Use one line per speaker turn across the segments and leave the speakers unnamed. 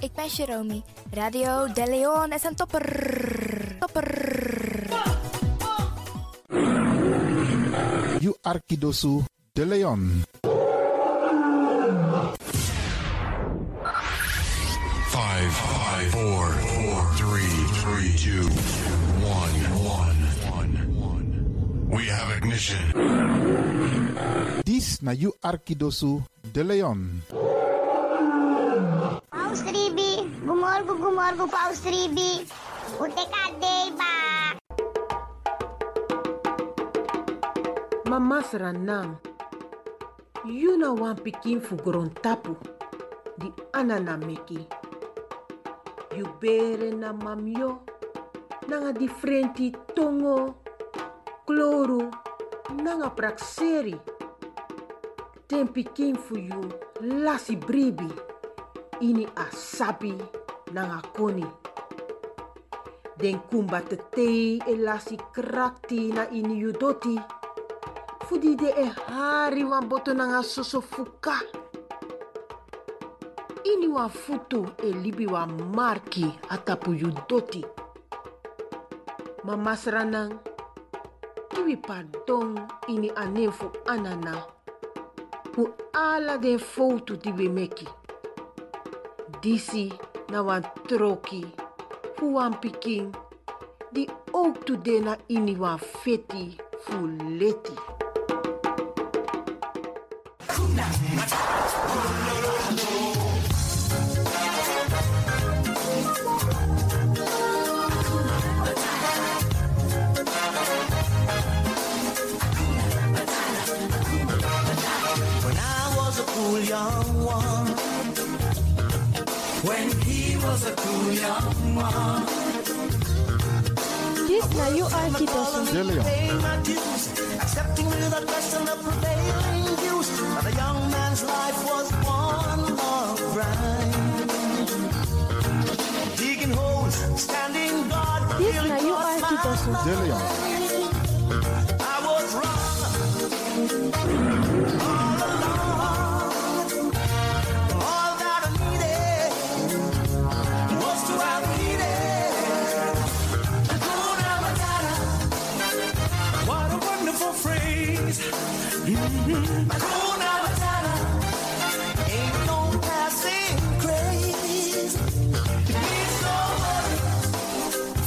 ik ben Jerome. Radio De Leon is een topper. Topper.
You Arkidosu de Leon.
Five, five, four, four, three, three, two, one, one, one. We have ignition.
This na You Arkidosu de Leon.
Paus 3B, gumorgo, gumorgo, Paus 3B. O ba?
Mama's ranam. You know one pikin for tapu. The anana meki. You bere na mamyo. Nanga differenti tongo. Kloro. Nanga prakseri. Ten pikin for you. Lasi bribi. Ini asabi. Nanga koni. Den kumba te tei e lasi krakti na ini yudoti. Fudi de e hari wan boto nanga soso fuka. Ini wan futu e libi wan marki atapu yu doti. Ma masranan, kiwi pardon ini anen fu anana. Fu ala den foutu di we meki. Disi na wan troki, fu wan pikin, di ook tu de na ini wan feti fu leti.
When I was a cool young one. When he was a cool young one.
This na you Arkidosu.
De Leon.
Paying my dues, accepting without question the prevailing views. But a young man's life was one long grind. Digging holes, standing guard.
This
till it
na you
cost my
Arkidosu.
De Leon.
I was wrong. All along, all that I needed was to have needed. Hakuna Matata. What a wonderful phrase. Mhm. Hakuna Matata. Ain't no passing craze. It means no worry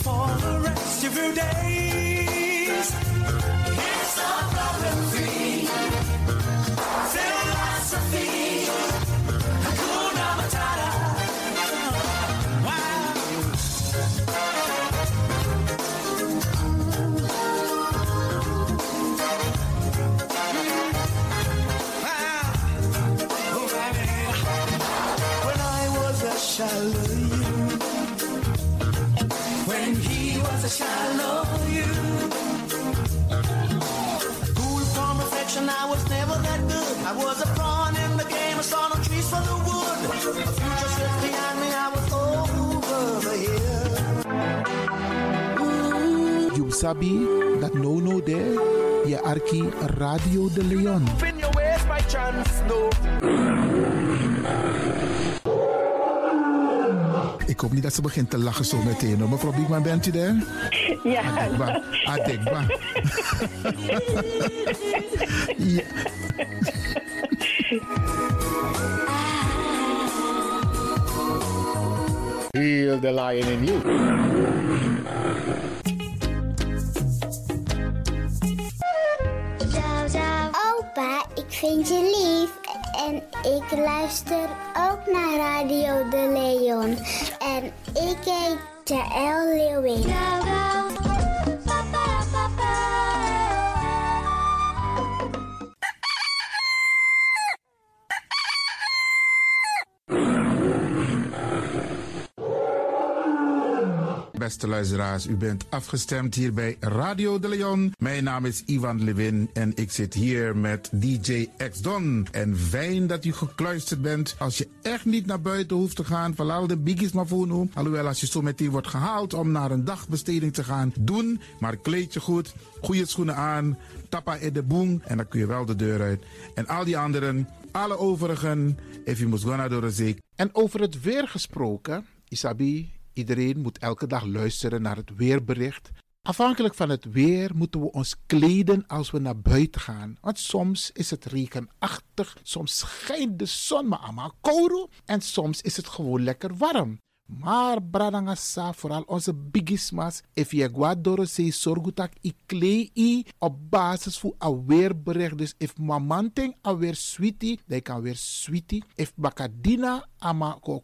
for the rest of your days. It's a problem-free philosophy. Hakuna Matata. Wow. Wow. Oh, baby. When I was a Shallow you. When he was a shallow you. Cool from affection, I was never that good. I was a pawn in the game, I saw no trees for the wood. A future slipped behind me, I was over the hill.
You sabi that no no there. Ya Arki Radio de Leon.
In your ways by chance, no.
Ik hoop niet dat ze begint te lachen zo meteen. hoor. Mevrouw Biekman, bent u daar?
Ja,
Adekba. Adekba. ja.
Heal the lion in you.
Opa, ik vind je lief. En ik luister ook naar Radio De Leon. En ik heet Jaël Leeuwin.
Beste luisteraars, u bent afgestemd hier bij Radio de Leon. Mijn naam is Ivan Levin en ik zit hier met DJ X Don. En fijn dat u gekluisterd bent. Als je echt niet naar buiten hoeft te gaan, verlaal de biggies maar voor nu. Alhoewel, als je zo meteen wordt gehaald om naar een dagbesteding te gaan, doen. Maar kleed je goed, goede schoenen aan, tappa in de boom en dan kun je wel de deur uit. En al die anderen, alle overigen, if you must go naar de zee.
En over het weer gesproken, Isabi, iedereen moet elke dag luisteren naar het weerbericht. Afhankelijk van het weer moeten we ons kleden als we naar buiten gaan. Want soms is het regenachtig, soms schijnt de zon maar allemaal kouro en soms is het gewoon lekker warm. Maar bradangasa, vooral onze bigismas, if je guadoro se sorgutak i klei i op basis van a weerbericht. Dus if mamanting a weer sweetie, dan kan weer sweetie. If bakadina ama ko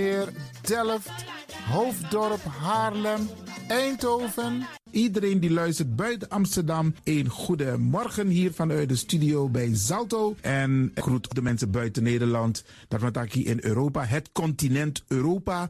Delft, Hoofddorp, Haarlem, Eindhoven. Iedereen die luistert buiten Amsterdam, een goede morgen hier vanuit de studio bij Zalto. En ik groet de mensen buiten Nederland, dat we het hier in Europa, het continent Europa.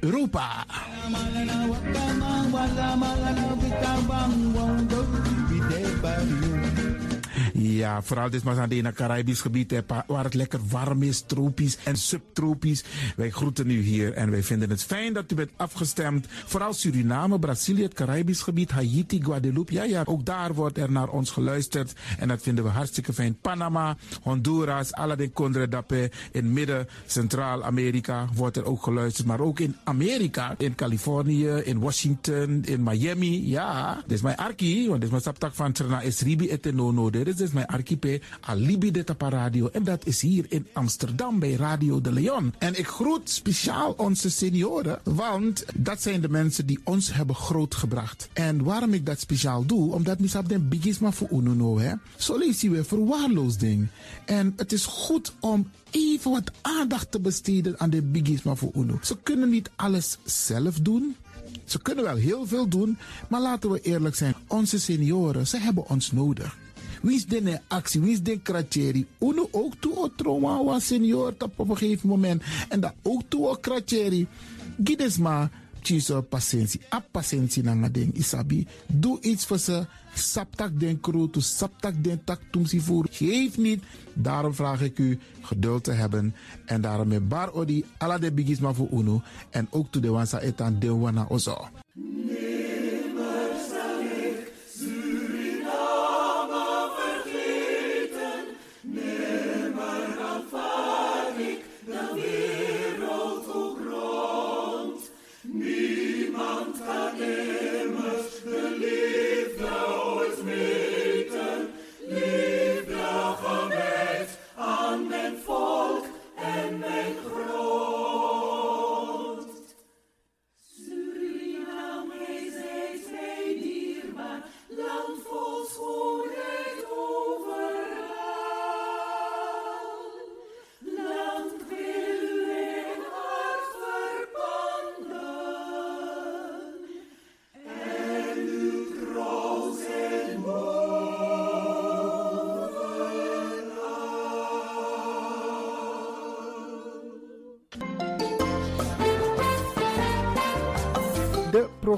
Europa. Ja, vooral dit maar aan het Caribisch gebied, hè, pa- waar het lekker warm is, tropisch en subtropisch. Wij groeten u hier en wij vinden het fijn dat u bent afgestemd. Vooral Suriname, Brazilië, het Caribisch gebied, Haiti, Guadeloupe. Ja, ja, ook daar wordt er naar ons geluisterd en dat vinden we hartstikke fijn. Panama, Honduras, Aladdin Condre Dapé, in midden, Centraal-Amerika wordt er ook geluisterd. Maar ook in Amerika, in Californië, in Washington, in Miami. Ja, dit is mijn arki, want dit is mijn saptak van Trena is Ribi et Nono. Dit is mijn archipel Alibi de Tapa Radio. En dat is hier in Amsterdam bij Radio de Leon. En ik groet speciaal onze senioren, want dat zijn de mensen die ons hebben grootgebracht. En waarom ik dat speciaal doe, omdat misap den bigisma voor Ununo, hè. Zo lezen we verwaarloosding. En het is goed om even wat aandacht te besteden aan de bigisma voor Uno. Ze kunnen niet alles zelf doen. Ze kunnen wel heel veel doen, maar laten we eerlijk zijn. Onze senioren, ze hebben ons nodig. Wie is de actie? Wie is de kratjeri? Uno ook toe o trauma was senior tap op een gegeven moment. En dat ook toe o kratjeri. Gides maar, tjiso patiëntie. A patiëntie na ding, isabi. Doe iets voor ze. Saptak den kroto, saptak den tak tumsi voer. Geef niet. Daarom vraag ik u geduld te hebben. En daarom met bar odi, ala de bigisma voor uno. En ook toe de wansa etan de wana ozo. De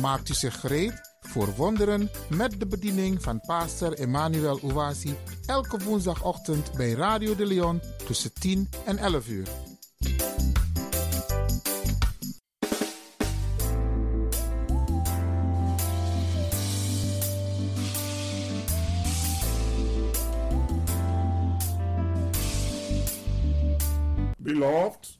Maakt u zich gereed voor wonderen met de bediening van pastor Emmanuel Owasi elke woensdagochtend bij Radio de Leon tussen 10 en 11 uur.
Beloved,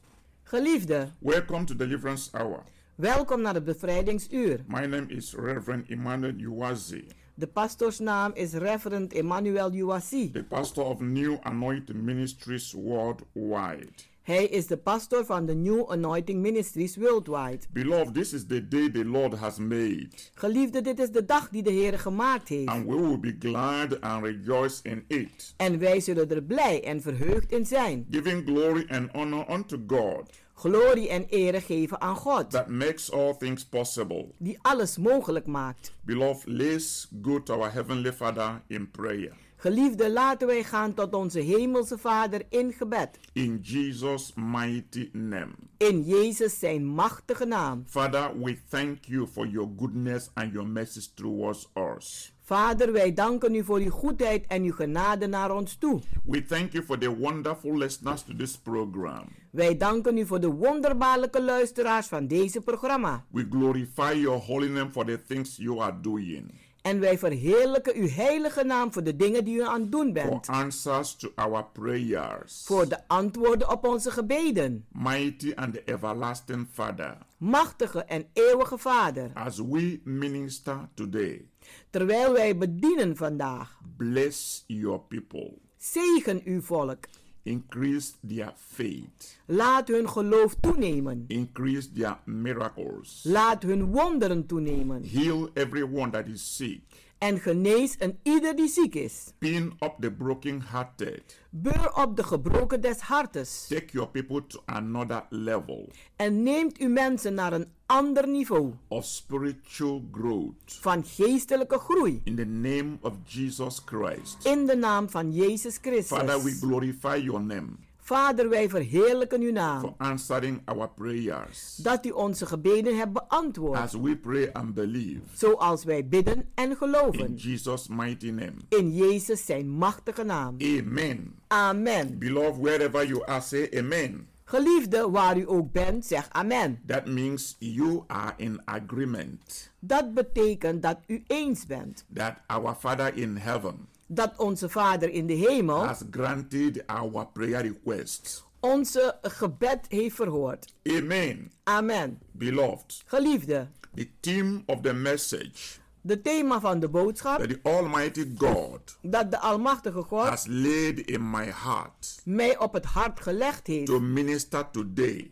Geliefde,
welcome to Deliverance Hour.
welkom naar het bevrijdingsuur.
My name is Reverend Emmanuel Uwazi,
De pastoorsnaam is Reverend Emmanuel Uwasi.
the pastor of New Anointing Ministries worldwide.
Hij is de pastor van de New Anointing Ministries Worldwide.
Beloved, this is the day the Lord has made,
Geliefde, dit is de dag die de Heer gemaakt heeft.
and we will be glad and rejoice in it,
En wij zullen er blij en verheugd in zijn.
giving glory and honor unto God
Glorie en ere geven aan God,
that makes all things possible.
die alles mogelijk maakt.
Beloved, let's go to our Heavenly Father in prayer.
Geliefde, laten wij gaan tot onze Hemelse Vader in gebed.
In Jesus' mighty name.
In Jezus zijn machtige naam.
Father, we thank you for your goodness and your mercies towards us.
Vader, wij danken u voor uw goedheid en uw genade naar ons toe.
We thank you for the wonderful listeners to this program.
Wij danken u voor de wonderbaarlijke luisteraars van deze programma.
We glorify your holy name for the things you are doing,
En wij verheerlijken uw heilige naam voor de dingen die u aan het doen
for
bent.
answers to our prayers.
Voor de antwoorden op onze gebeden.
Mighty and everlasting Father,
Machtige en eeuwige Vader.
as we minister today,
Terwijl wij bedienen vandaag.
bless your people,
Zegen uw volk.
increase their faith,
Laat hun geloof toenemen.
increase their miracles,
Laat hun wonderen toenemen.
heal everyone that is sick,
En genees een ieder die ziek is.
pin up the brokenhearted,
Beur op de gebroken des hartes.
take your people to another level
En neemt uw mensen naar een ander niveau.
of spiritual growth.
Van geestelijke groei.
In the name of Jesus Christ.
In de naam van Jezus Christus.
Father, we glorify your name
Vader, wij verheerlijken uw
for
naam.
answering our prayers
Dat u onze gebeden hebt beantwoord.
as we pray and believe.
Zoals wij bidden en
In
geloven.
Jesus' mighty name.
In Jezus zijn machtige naam.
Amen.
Amen.
Beloved, wherever you are, say amen.
Geliefde, waar u ook bent, zeg amen.
That means you are in agreement
Dat betekent dat u eens bent.
that our Father in heaven
Dat onze Vader in de hemel
has granted our prayer requests.
onze gebed heeft verhoord.
Amen.
Amen.
Beloved,
Geliefde,
the theme of the message
de thema van de boodschap
that the Almighty God
dat de Almachtige God
has laid in my heart
mij op het hart gelegd heeft
to minister today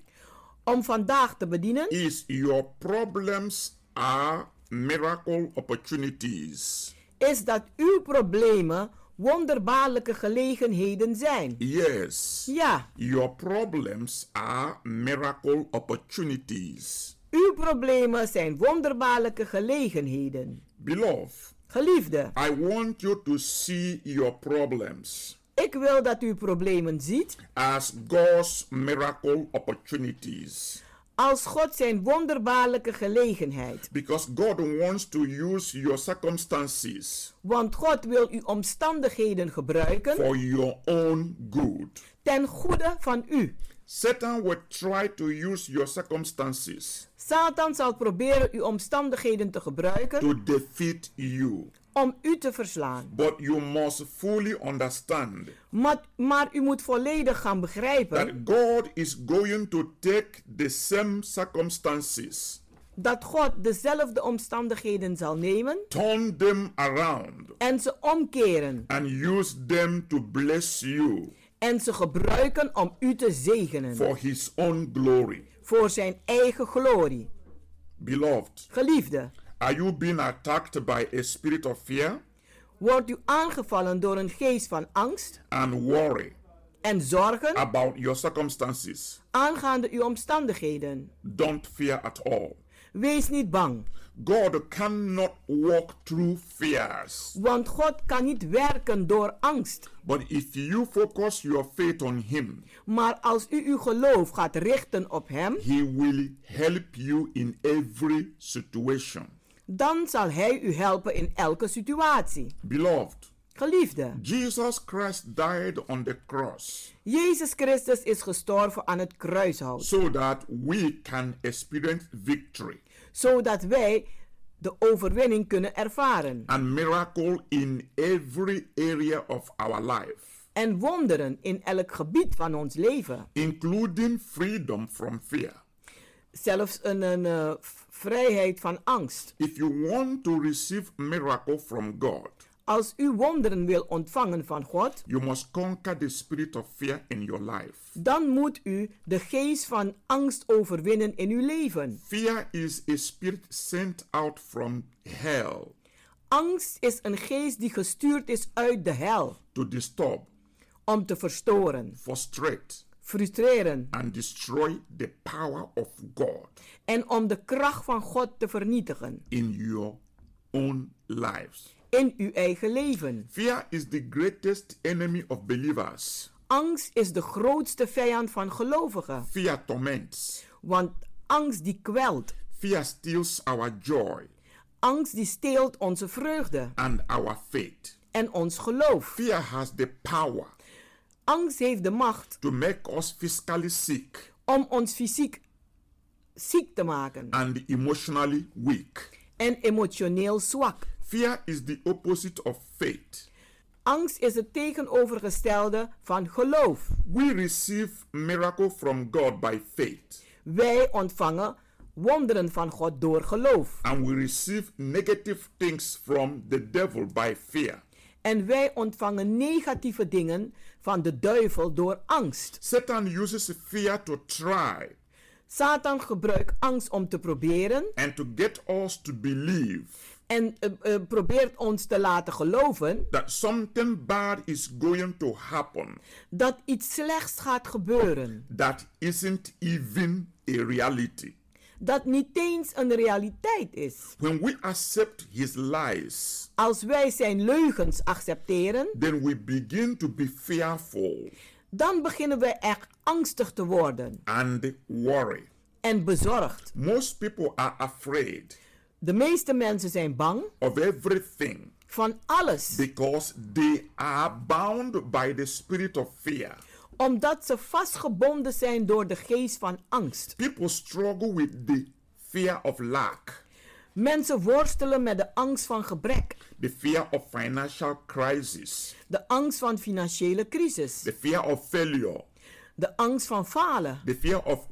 om vandaag te bedienen
is your problems are miracle opportunities.
is dat uw problemen wonderbaarlijke gelegenheden zijn.
Yes.
Ja,
Your problems are miracle opportunities.
uw problemen zijn wonderbaarlijke gelegenheden.
Beloved,
Geliefde,
I want you to see your problems
ik wil dat u problemen ziet
as God's miracle opportunities
als God zijn wonderbaarlijke gelegenheid.
because God wants to use your circumstances
Want God wil uw omstandigheden gebruiken
for your own good.
ten goede van u.
Satan will try to use your circumstances
Satan zal proberen uw omstandigheden te gebruiken
to defeat you.
om u te verslaan.
But you must fully understand
Maar, maar u moet volledig gaan begrijpen
that God is going to take the same circumstances,
dat God dezelfde omstandigheden zal nemen
turn them around,
en ze omkeren
and use them to bless you
en ze gebruiken om u te zegenen
for His own glory.
voor zijn eigen glorie.
Beloved,
Geliefde,
are you being attacked by a spirit of fear
wordt u aangevallen door een geest van angst
and worry
en zorgen
about your circumstances?
aangaande uw omstandigheden?
Don't fear at all.
Wees niet bang,
God cannot walk through fears.
want God kan niet werken door angst.
But if you focus your faith on Him,
Maar als u uw geloof gaat richten op Hem,
He will help you in every situation.
dan zal Hij u helpen in elke situatie.
Beloved,
Geliefde,
Jesus Christ died on the cross
Jezus Christus is gestorven aan het kruishout,
so that we can experience victory
zodat wij de overwinning kunnen ervaren
and miracle in every area of our life,
en wonderen in elk gebied van ons leven.
including freedom from fear.
Zelfs een, een, eh, v- vrijheid van angst.
If you want to receive miracle from God,
Als u wonderen wil ontvangen van God,
you must conquer the spirit of fear in your life.
dan moet u de geest van angst overwinnen in uw leven.
Fear is a spirit sent out from hell
Angst is een geest die gestuurd is uit de hel
to disturb,
om te verstoren,
frustrate,
frustreren
and destroy the power of God
en om de kracht van God te vernietigen
in your own lives.
in uw eigen leven.
Fear is the greatest enemy of believers.
Angst is de grootste vijand van gelovigen,
Fear torments.
want angst die kwelt,
Fear steals our joy
angst die steelt onze vreugde
and our faith.
en ons geloof.
Fear has the power
Angst heeft de macht
to make us physically sick
om ons fysiek ziek te maken
and emotionally weak.
en emotioneel zwak.
Fear is the opposite of faith.
Angst is het tegenovergestelde van geloof.
We receive miracle from God by faith,
Wij ontvangen wonderen van God door geloof.
and we receive negative things from the devil by fear.
En wij ontvangen negatieve dingen van de duivel door angst.
Satan uses fear to try
Satan gebruikt angst om te proberen
and to get us to believe
en eh, eh, probeert ons te laten geloven
that something bad is going to happen
dat iets slechts gaat gebeuren.
that isn't even a reality.
Dat niet eens een realiteit is.
When we accept his lies,
Als wij zijn leugens accepteren,
then we begin to be fearful
dan beginnen wij echt angstig te worden
and worry.
en bezorgd.
Most people are afraid
De meeste mensen zijn bang
of everything
van alles.
because they are bound by the spirit of fear.
omdat ze vastgebonden zijn door de geest van angst.
People struggle with the fear of lack,
Mensen worstelen met de angst van gebrek,
the fear of financial crisis,
de angst van financiële crisis,
the fear of failure,
de angst van falen,
the fear of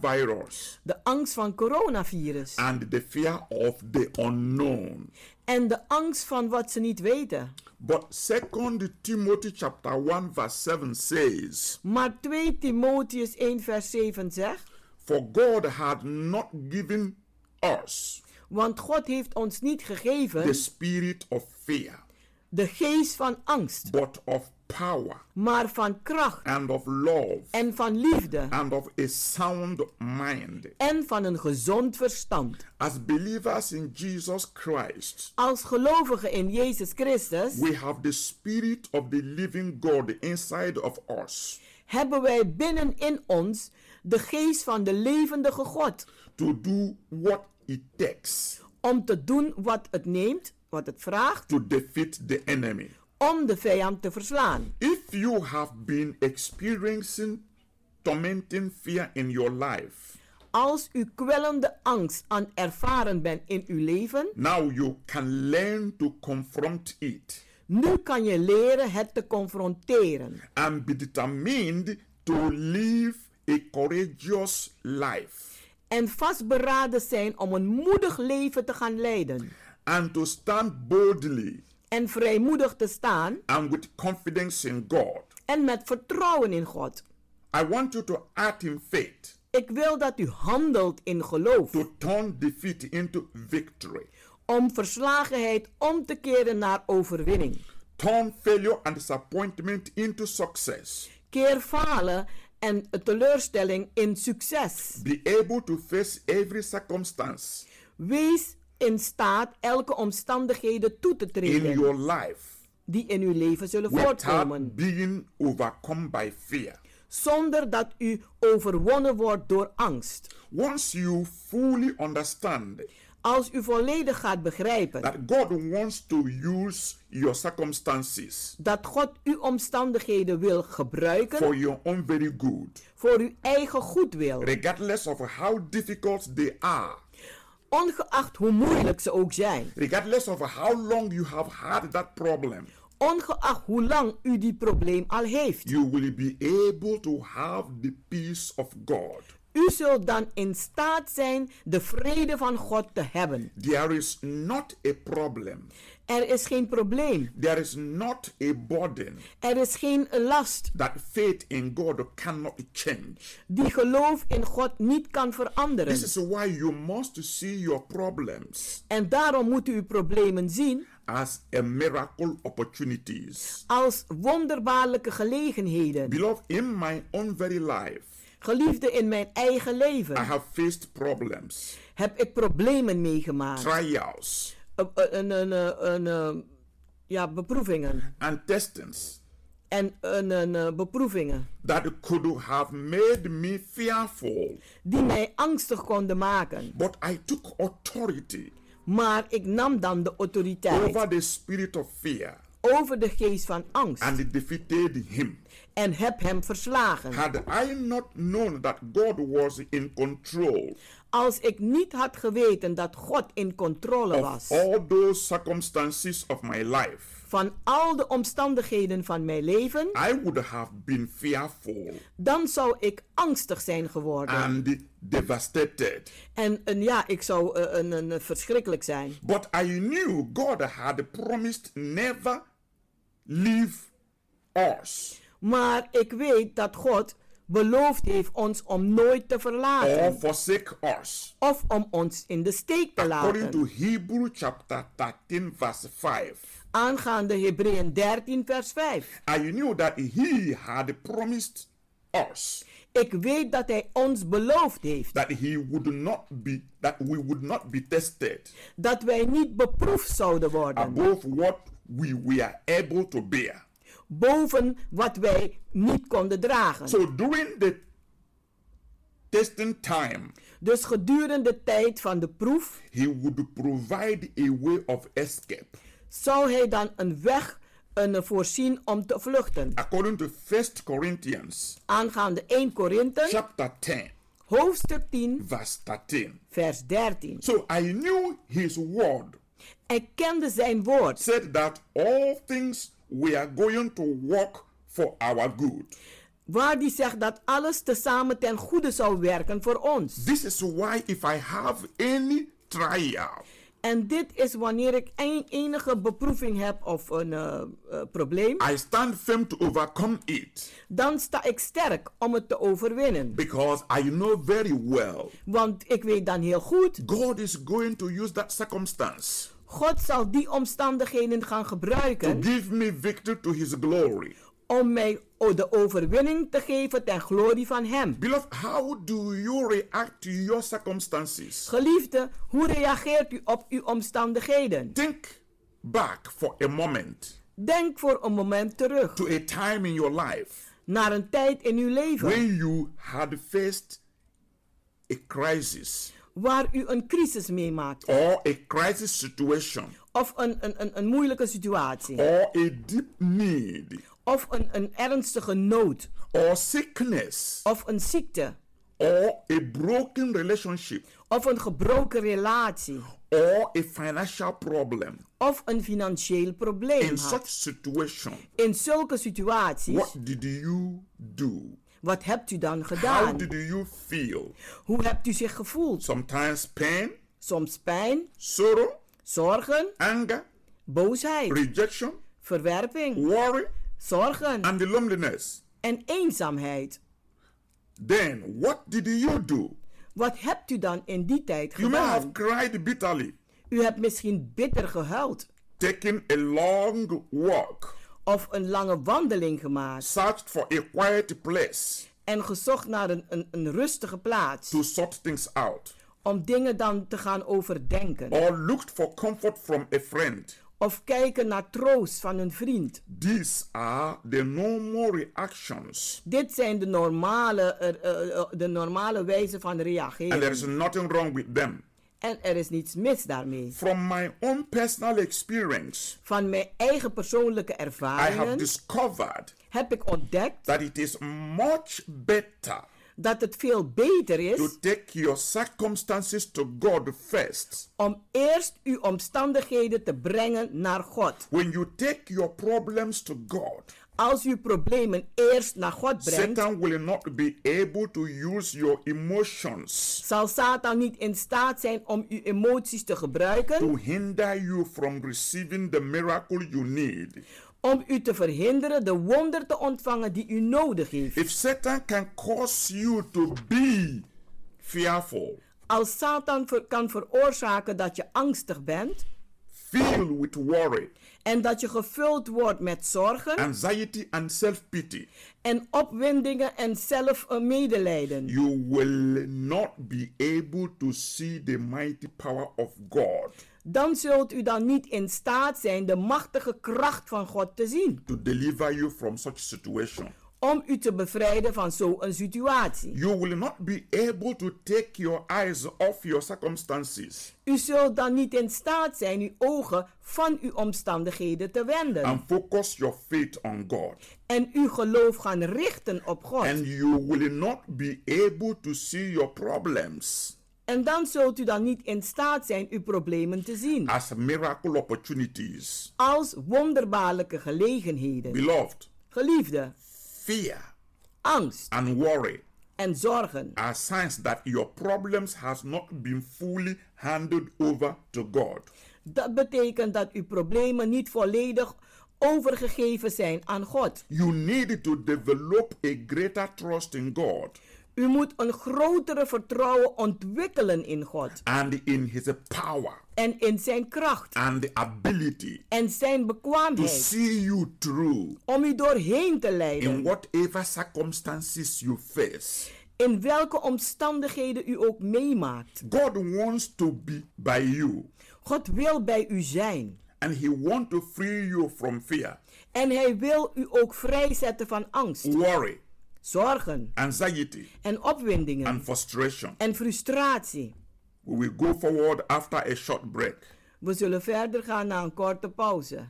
coronavirus,
de angst van coronavirus
and the fear of the unknown.
en de angst van wat ze niet weten.
But 2 Timothy chapter 1 verse 7 says,
Maar 2 Timotheus 1 vers 7 zegt,
For God had not given us
want God heeft ons niet
the
gegeven
spirit of fear,
de geest van angst,
but of power
maar van kracht
and of love
en van liefde
and of a sound mind.
en van een gezond verstand.
As believers in Jesus Christ,
Als gelovigen in Jezus Christus
we have the spirit of the living God inside of us
hebben wij binnen in ons de geest van de levendige God
to do what it takes
om te doen wat het neemt, wat het vraagt,
to defeat the enemy.
om de vijand te verslaan.
If you have been experiencing tormenting fear in your life,
als u kwellende angst aan ervaren bent in uw leven,
now you can learn to confront it
nu kan je leren het te confronteren
and be determined to live a courageous life
en vastberaden zijn om een moedig leven te gaan leiden
and to stand boldly
en vrijmoedig te staan
and with confidence in God.
en met vertrouwen in God.
I want you to act in faith
Ik wil dat u handelt in geloof
to turn defeat into victory.
om verslagenheid om te keren naar overwinning.
Turn failure and disappointment into success.
Keer falen en teleurstelling in succes.
Be able to face every circumstance
Wees in staat elke omstandigheden toe te
in
treden
your life
die in uw leven zullen
without
voortkomen,
being overcome by fear.
zonder dat u overwonnen wordt door angst.
Once you fully understand
Als u volledig gaat begrijpen
that God wants to use your circumstances
dat God uw omstandigheden wil gebruiken
for your own very good,
voor uw eigen goed wil,
regardless of how difficult they are,
ongeacht hoe moeilijk ze ook zijn,
regardless of how long you have had that problem,
ongeacht hoe lang u die probleem al heeft.
you will be able to have the peace of God.
U zult dan in staat zijn de vrede van God te hebben.
There is not a problem,
Er is geen probleem,
there is not a burden
er is geen last
that faith in God cannot change.
die geloof in God niet kan veranderen.
This is why you must see your problems
En daarom moet u uw problemen zien
as a miracle opportunities.
als wonderbaarlijke gelegenheden.
Beloved, in my own very life,
Geliefde in mijn eigen
I
leven
have faced problems,
heb ik problemen meegemaakt.
trials,
Eh, eh, een, een, eh, een, eh, ja, beproevingen.
and testings
En een, een, eh, beproevingen
that could have made me fearful.
die mij angstig konden maken.
But I took authority
Maar ik nam dan de
over
autoriteit
the spirit of fear
over de geest van angst
and defeated him.
en heb hem verslagen.
Had I not known that God was in control
Als ik niet had geweten dat God in controle
of
was
all those circumstances of my life,
van al de omstandigheden van mijn leven,
I would have been fearful
dan zou ik angstig zijn geworden.
and devastated.
En, en ja, ik zou eh, een, een, verschrikkelijk zijn.
But I knew God had promised never leave us
Maar ik weet dat God beloofd heeft ons om nooit te
or
verlaten.
forsake us.
Of om ons in de steek te
According to
laten.
Hebrew chapter 13, verse 5,
Aangaande Hebreeën 13, vers 5.
I knew that He had promised us
Ik weet dat Hij ons beloofd heeft
that He would not be, that we would not be tested
dat wij niet beproefd zouden worden.
above what we were able to bear.
Boven wat wij niet konden dragen.
So during the testing time,
Dus gedurende de tijd van de proef
He would provide a way of escape.
zou Hij dan een weg een, eh, voorzien om te vluchten.
according to 1 Corinthians
Aangaande 1 Korinthe,
chapter 10
hoofdstuk 10,
verse 13.
vers 13.
So I knew his word
Hij kende zijn woord.
said that all things were going to work for our good.
Waar die zegt dat alles tezamen ten goede zou werken voor ons.
This is why if I have any trial,
En dit is wanneer ik een, enige beproeving heb of een eh, eh, probleem.
I stand firm to overcome it
Dan sta ik sterk om het te overwinnen.
because I know very well
Want ik weet dan heel goed.
God is going to use that circumstance
God zal die omstandigheden gaan
to
gebruiken.
give me victory to his glory.
Om mij o- de overwinning te geven ten glorie van hem.
Beloved, how do you react to your circumstances?
Geliefde, hoe reageert u op uw omstandigheden?
Think back for a moment
Denk voor een moment terug.
to a time in your life
Naar een tijd in uw leven.
when you had faced a crisis
waar u een crisis meemaakt.
or a crisis situation
Of een, een, een, een moeilijke situatie.
or a deep need
Of een, een ernstige nood.
or sickness
Of een ziekte.
or a broken relationship
of een gebroken relatie
or a financial problem
of een financieel probleem
in
had.
such situation
In zulke situaties,
what did you do
wat hebt u dan
how
gedaan?
did you feel
Hoe hebt u zich gevoeld?
sometimes pain
Soms pijn,
sorrow
zorgen,
anger
boosheid,
rejection
verwerping,
worry
zorgen
and the loneliness
en eenzaamheid.
then what did you do
Wat hebt u dan in die tijd
you may have
gedaan?
cried bitterly
U hebt misschien bitter gehuild
taken a long walk
of een lange wandeling gemaakt
searched for a quiet place
en gezocht naar een, een, een rustige plaats
to sort things out
om dingen dan te gaan overdenken
or looked for comfort from a friend.
of kijken naar troost van een vriend.
These are the normal reactions.
Dit zijn de normale, eh, eh, eh, de normale wijze van
And there is
reageren.
nothing wrong with them.
En er is niets mis daarmee.
From my own personal experience,
Van mijn eigen persoonlijke
I have
ervaringen
discovered
heb ik ontdekt
that it is much better
dat het veel beter
to
is
take your circumstances to God first.
om eerst uw omstandigheden te brengen naar God.
When you take your problems to God,
Als u problemen eerst naar God brengt,
Satan will not be able to use your emotions
zal Satan niet in staat zijn om uw emoties te gebruiken
to hinder you from receiving the miracle you need.
om u te verhinderen de wonder te ontvangen die u nodig heeft.
If Satan can cause you to be fearful,
Als Satan ver- kan veroorzaken dat je angstig bent
filled with worry,
en dat je gevuld wordt met zorgen
anxiety, and self pity,
en opwindingen en zelf een medelijden,
you will not be able to see the mighty power of God
dan zult u dan niet in staat zijn de machtige kracht van God te zien
to deliver you from such situation.
om u te bevrijden van zo'n situatie.
You will not be able to take your eyes off your circumstances
U zult dan niet in staat zijn uw ogen van uw omstandigheden te wenden
and focus your faith on God.
en uw geloof gaan richten op God.
And you will not be able to see your problems
En dan zult u dan niet in staat zijn uw problemen te zien
as miracle opportunities.
als wonderbaarlijke gelegenheden.
Beloved,
Geliefde,
fear
angst
and worry
en zorgen
are signs that your problems has not been fully handed over to God.
Dat betekent dat uw problemen niet volledig overgegeven zijn aan God.
You need to develop a greater trust in God
U moet een grotere vertrouwen ontwikkelen in God
and in his power
en in zijn kracht
and the ability
en zijn
to
bekwaamheid
see you through
om u doorheen te
in
leiden.
whatever circumstances you face.
In welke omstandigheden u ook meemaakt.
God wants to be by you
God wil bij u zijn
and he wants to free you from fear,
en hij wil u ook vrijzetten van angst,
worry,
zorgen
anxiety
en opwindingen
and frustration.
en frustratie.
We will go forward after a short break.
We zullen verder gaan na een korte pauze.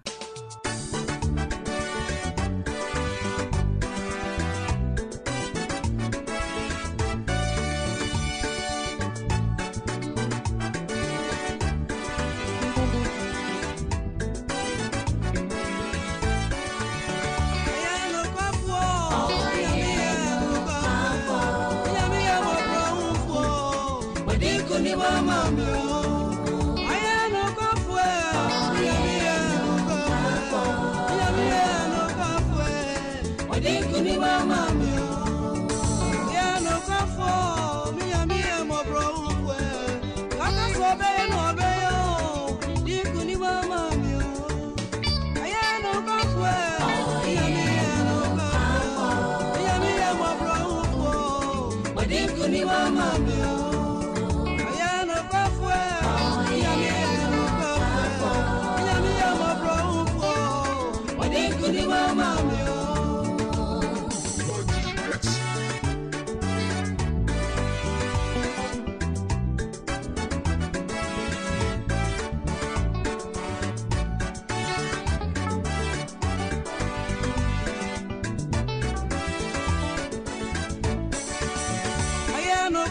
Ayano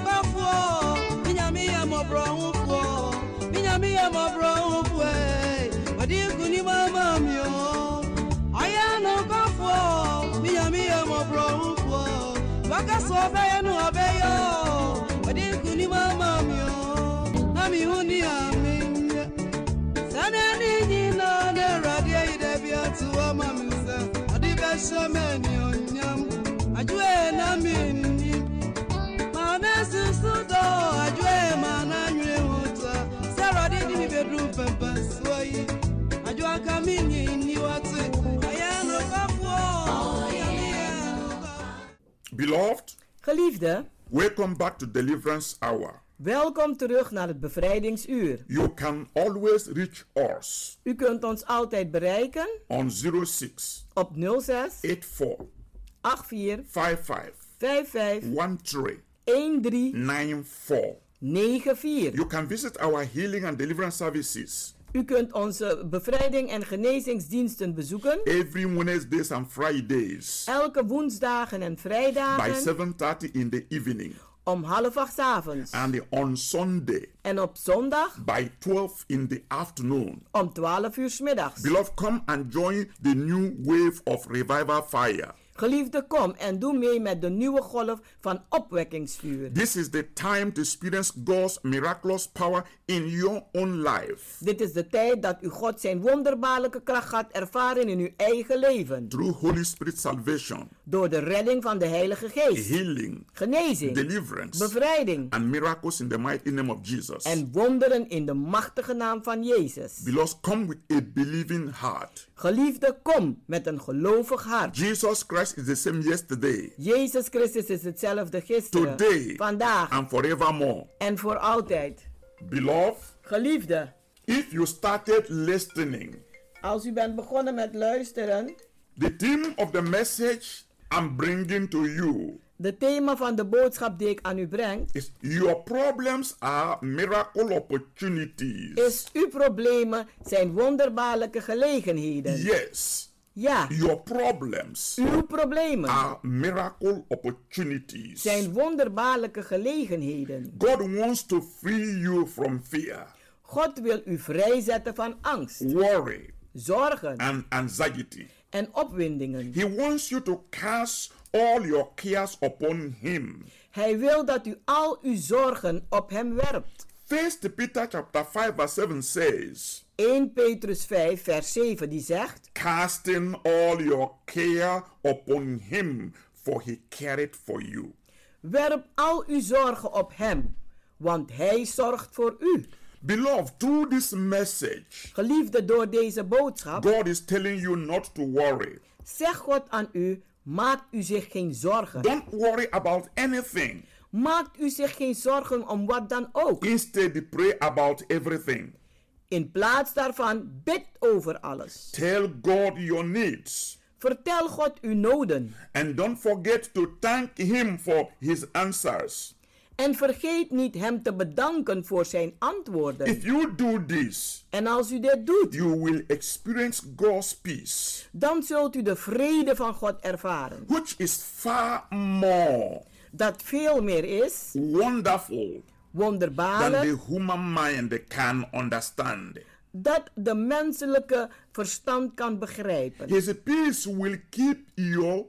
Beloved,
Geliefde,
welcome back to Deliverance Hour.
welkom terug naar het bevrijdingsuur.
You can always reach us
U kunt ons altijd bereiken
on 06
op 06
84
84
55
55 13
94.
94.
You can visit our healing and deliverance services
U kunt onze bevrijding en genezingsdiensten bezoeken
every Wednesdays and Fridays
elke woensdagen en
by
vrijdagen
7:30 in the evening
om half acht 's avonds
and on Sunday
en op zondag
by 12 in the afternoon.
om 12 uur 's middags.
Beloved, come and join the new wave of revival fire.
Geliefde, kom en doe mee met de nieuwe golf van opwekkingsvuur.
This is the time to experience God's miraculous power in your own life
Dit is de tijd dat u God zijn wonderbaarlijke kracht gaat ervaren in uw eigen leven.
through Holy Spirit salvation,
Door de redding van de Heilige Geest,
healing,
genezing,
deliverance,
bevrijding
and miracles in the mighty name of Jesus.
en wonderen in de machtige naam van Jezus.
Beloved, come with a believing heart.
Geliefde, kom met een gelovig hart.
Jesus Christ is the same yesterday,
Jezus Christus is hetzelfde gisteren,
Today.
vandaag
and forevermore.
en voor altijd.
Beloved,
Geliefde,
if you started listening,
als u bent begonnen met luisteren,
the theme of the message I'm bringing to you
de thema van de boodschap die ik aan u breng,
is Your problems are miracle opportunities.
is uw problemen zijn wonderbaarlijke gelegenheden.
Yes,
Ja,
your problems
uw problemen
are miracle opportunities.
zijn wonderbaarlijke gelegenheden.
God wants to free you from fear,
God wil u vrijzetten van angst,
worry,
zorgen
and anxiety.
en opwindingen.
He wants you to cast all your cares upon Him.
Hij wil dat u al uw zorgen op hem werpt.
First Peter chapter 5 verse 7 says,
1 Petrus 5, vers 7, die zegt:
Casting all your care upon him, for he careth for you.
Werp al uw zorgen op hem, want hij zorgt voor u.
Beloved, through this message,
Geliefde, door deze boodschap,
God is telling you not to worry.
zeg God aan u: maak u zich geen zorgen.
Don't worry about anything.
Maak u zich geen zorgen om wat dan ook.
Instead, pray about everything.
In plaats daarvan bid over alles.
Tell God your needs.
Vertel God uw noden.
And don't forget to thank him for his answers.
En vergeet niet hem te bedanken voor zijn antwoorden.
If you do this,
En als u dit doet,
you will experience God's peace,
dan zult u de vrede van God ervaren.
which is far more
Dat veel meer is,
wonderful than
wonderbaarlijk,
the human mind can understand.
dat de menselijke verstand kan begrijpen.
His peace will keep you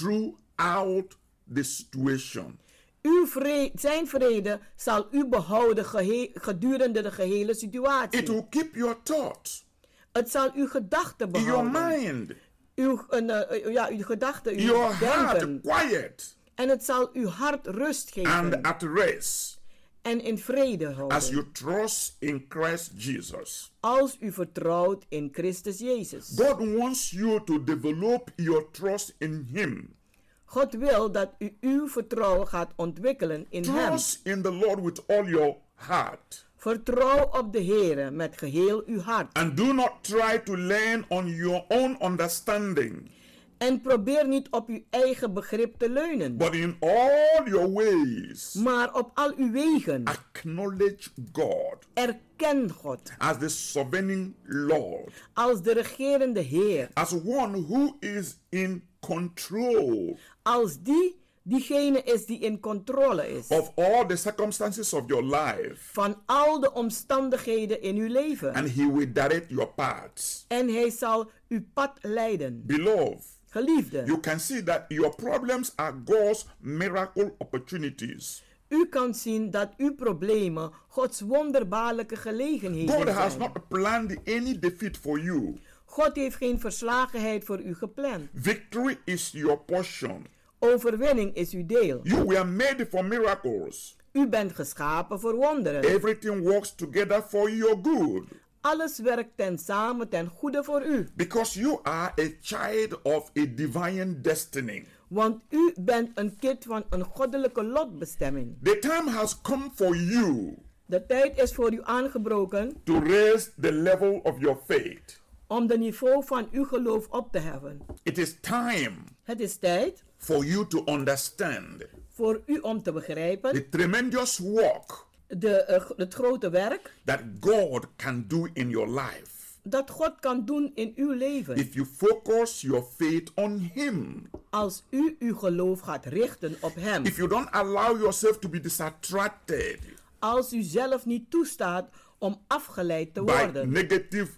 throughout the situation.
Uw vre- zijn vrede zal u behouden gehe- gedurende de gehele
It
situatie.
will keep your thoughts
Het zal uw gedachten
in your
behouden.
mind,
Uw, een, eh, ja, uw gedachten, uw
your
denken.
heart quiet
En het zal uw hart rust geven
and at rest
en in vrede houden.
as you trust in Christ Jesus.
als u vertrouwt in Christus Jezus.
God wants you to develop your trust in Him.
God wil dat u uw vertrouwen gaat ontwikkelen in Hem.
Trust in the Lord with all your heart.
Vertrouw op de Heer met geheel uw hart.
And do not try to lean on your own understanding,
En probeer niet op uw eigen begrip te leunen,
but in all your ways,
maar op al uw wegen.
acknowledge God
Erken God
as the sovereign Lord,
als de regerende Heer,
as one who is in control
als die diegene is die in controle is
of all the circumstances of your life,
van al de omstandigheden in uw leven.
and He will direct your paths.
En Hij zal uw pad leiden.
Beloved,
Geliefde.
You can see that your problems are God's miracle opportunities.
U kan zien dat uw problemen Gods wonderbaarlijke gelegenheden
God
zijn.
has not planned any defeat for you.
God heeft geen verslagenheid voor u gepland.
Victory is your portion.
Overwinning is uw deel.
You were made for miracles.
U bent geschapen voor wonderen.
Eh- Everything works together for your good.
Alles werkt ten samen ten goede voor u.
Because you are a child of a divine destiny.
Want u bent een kind van een goddelijke lotbestemming.
The time has come for you
De tijd is voor u aangebroken
to raise the level of your faith.
om de niveau van uw geloof op te heffen.
It is time
Het is tijd
for you to understand
voor u om te
the
begrijpen
tremendous work
de, eh, g- het grote werk
that God can do in your life
dat God kan doen in uw leven.
if you focus your faith on Him.
Als u uw geloof gaat richten op Hem.
If you don't allow yourself to be distracted
Als u zelf niet toestaat om afgeleid te
by
worden
negative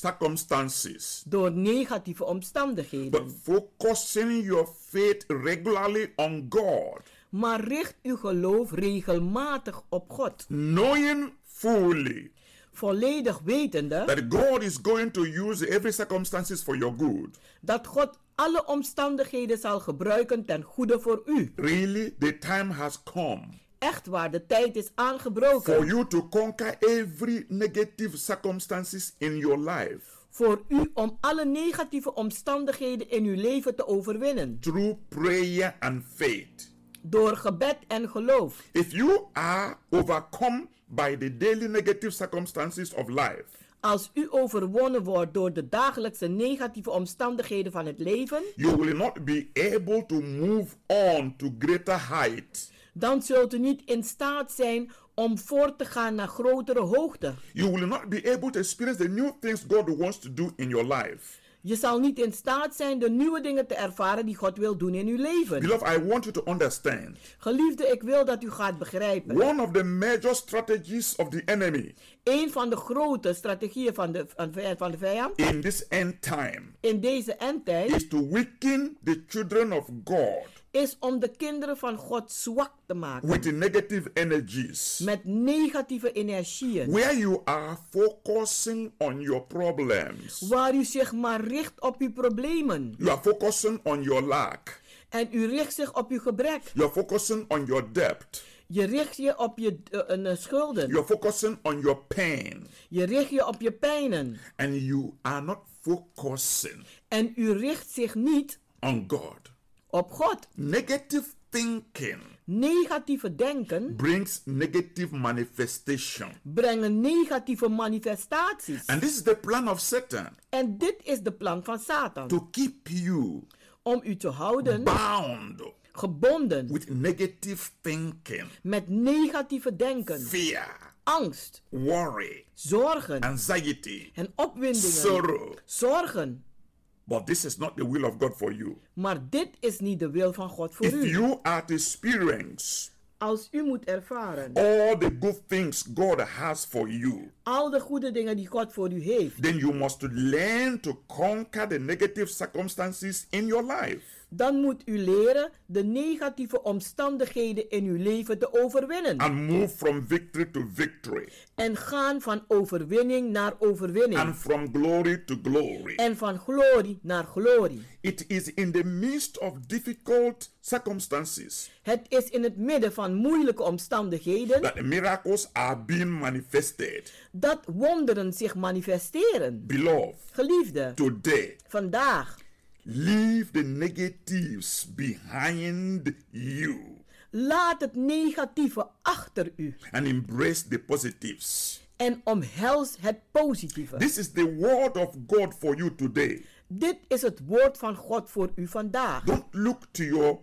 circumstances,
door negatieve
but
omstandigheden.
focusing your faith regularly on God,
Maar richt uw geloof regelmatig op God.
knowing fully
Volledig wetende
that God is going to use every circumstances for your good.
dat God alle omstandigheden zal gebruiken ten goede voor u.
Really, the time has come
Echt waar, de tijd is
for
aangebroken
you to conquer every negative circumstances in your life
voor u om alle negatieve omstandigheden in uw leven te overwinnen.
through prayer and faith.
Door gebed en geloof.
If you are overcome by the daily negative circumstances of life,
Als u overwonnen wordt door de dagelijkse negatieve omstandigheden van het leven,
you will not be able to move on to greater heights.
dan zult u niet in staat zijn om voort te gaan naar grotere hoogte.
You will not be able to experience the new things God wants to do in your life.
Je zal niet in staat zijn de nieuwe dingen te ervaren die God wil doen in uw leven.
Beloved, I want you to understand
Geliefde, ik wil dat u gaat begrijpen.
one of the major strategies of the enemy
Een van de grote strategieën van de, van de- van de vijand
in this end time
in deze endtijd
is to weaken the children of God
is om de kinderen van God zwak te maken.
with the negative energies.
Met negatieve energieën.
Where you are focusing on your problems,
Waar u zich maar richt op uw problemen.
you are focusing on your lack,
En u richt zich op uw gebrek.
you are focusing on your debt,
Je richt je op je eh, eh, schulden.
you are focusing on your pain,
Je richt je op je pijnen.
and you are not focusing
En u richt zich niet
on God.
op God.
Negative thinking
Negatieve denken
brings negative manifestation.
brengen negatieve manifestaties.
And this is the plan of Satan
En dit is de plan van Satan.
to keep you
Om u te houden
bound
gebonden
with negative thinking,
met negatieve denken,
fear,
angst,
worry,
zorgen
anxiety,
en opwindingen,
sorrow.
zorgen.
But this is not the will of God for you.
Maar dit is niet de wil van God voor
If
u.
you are to experience
Als u moet ervaren
all the good things God has for you,
al de goede dingen die God voor u heeft,
then you must learn to conquer the negative circumstances in your life.
dan moet u leren de negatieve omstandigheden in uw leven te overwinnen.
and move from victory to victory
En gaan van overwinning naar overwinning.
and from glory to glory.
En van glorie naar glorie.
It is in the midst of difficult circumstances
Het is in het midden van moeilijke omstandigheden
that miracles are being manifested.
dat wonderen zich manifesteren.
Beloved,
Geliefde,
today,
vandaag
leave the negatives behind you
laat het negatieve achter u
and embrace the positives.
en omhels het positieve.
This is the word of God for you today.
Dit is het woord van God voor u vandaag.
Don't look to your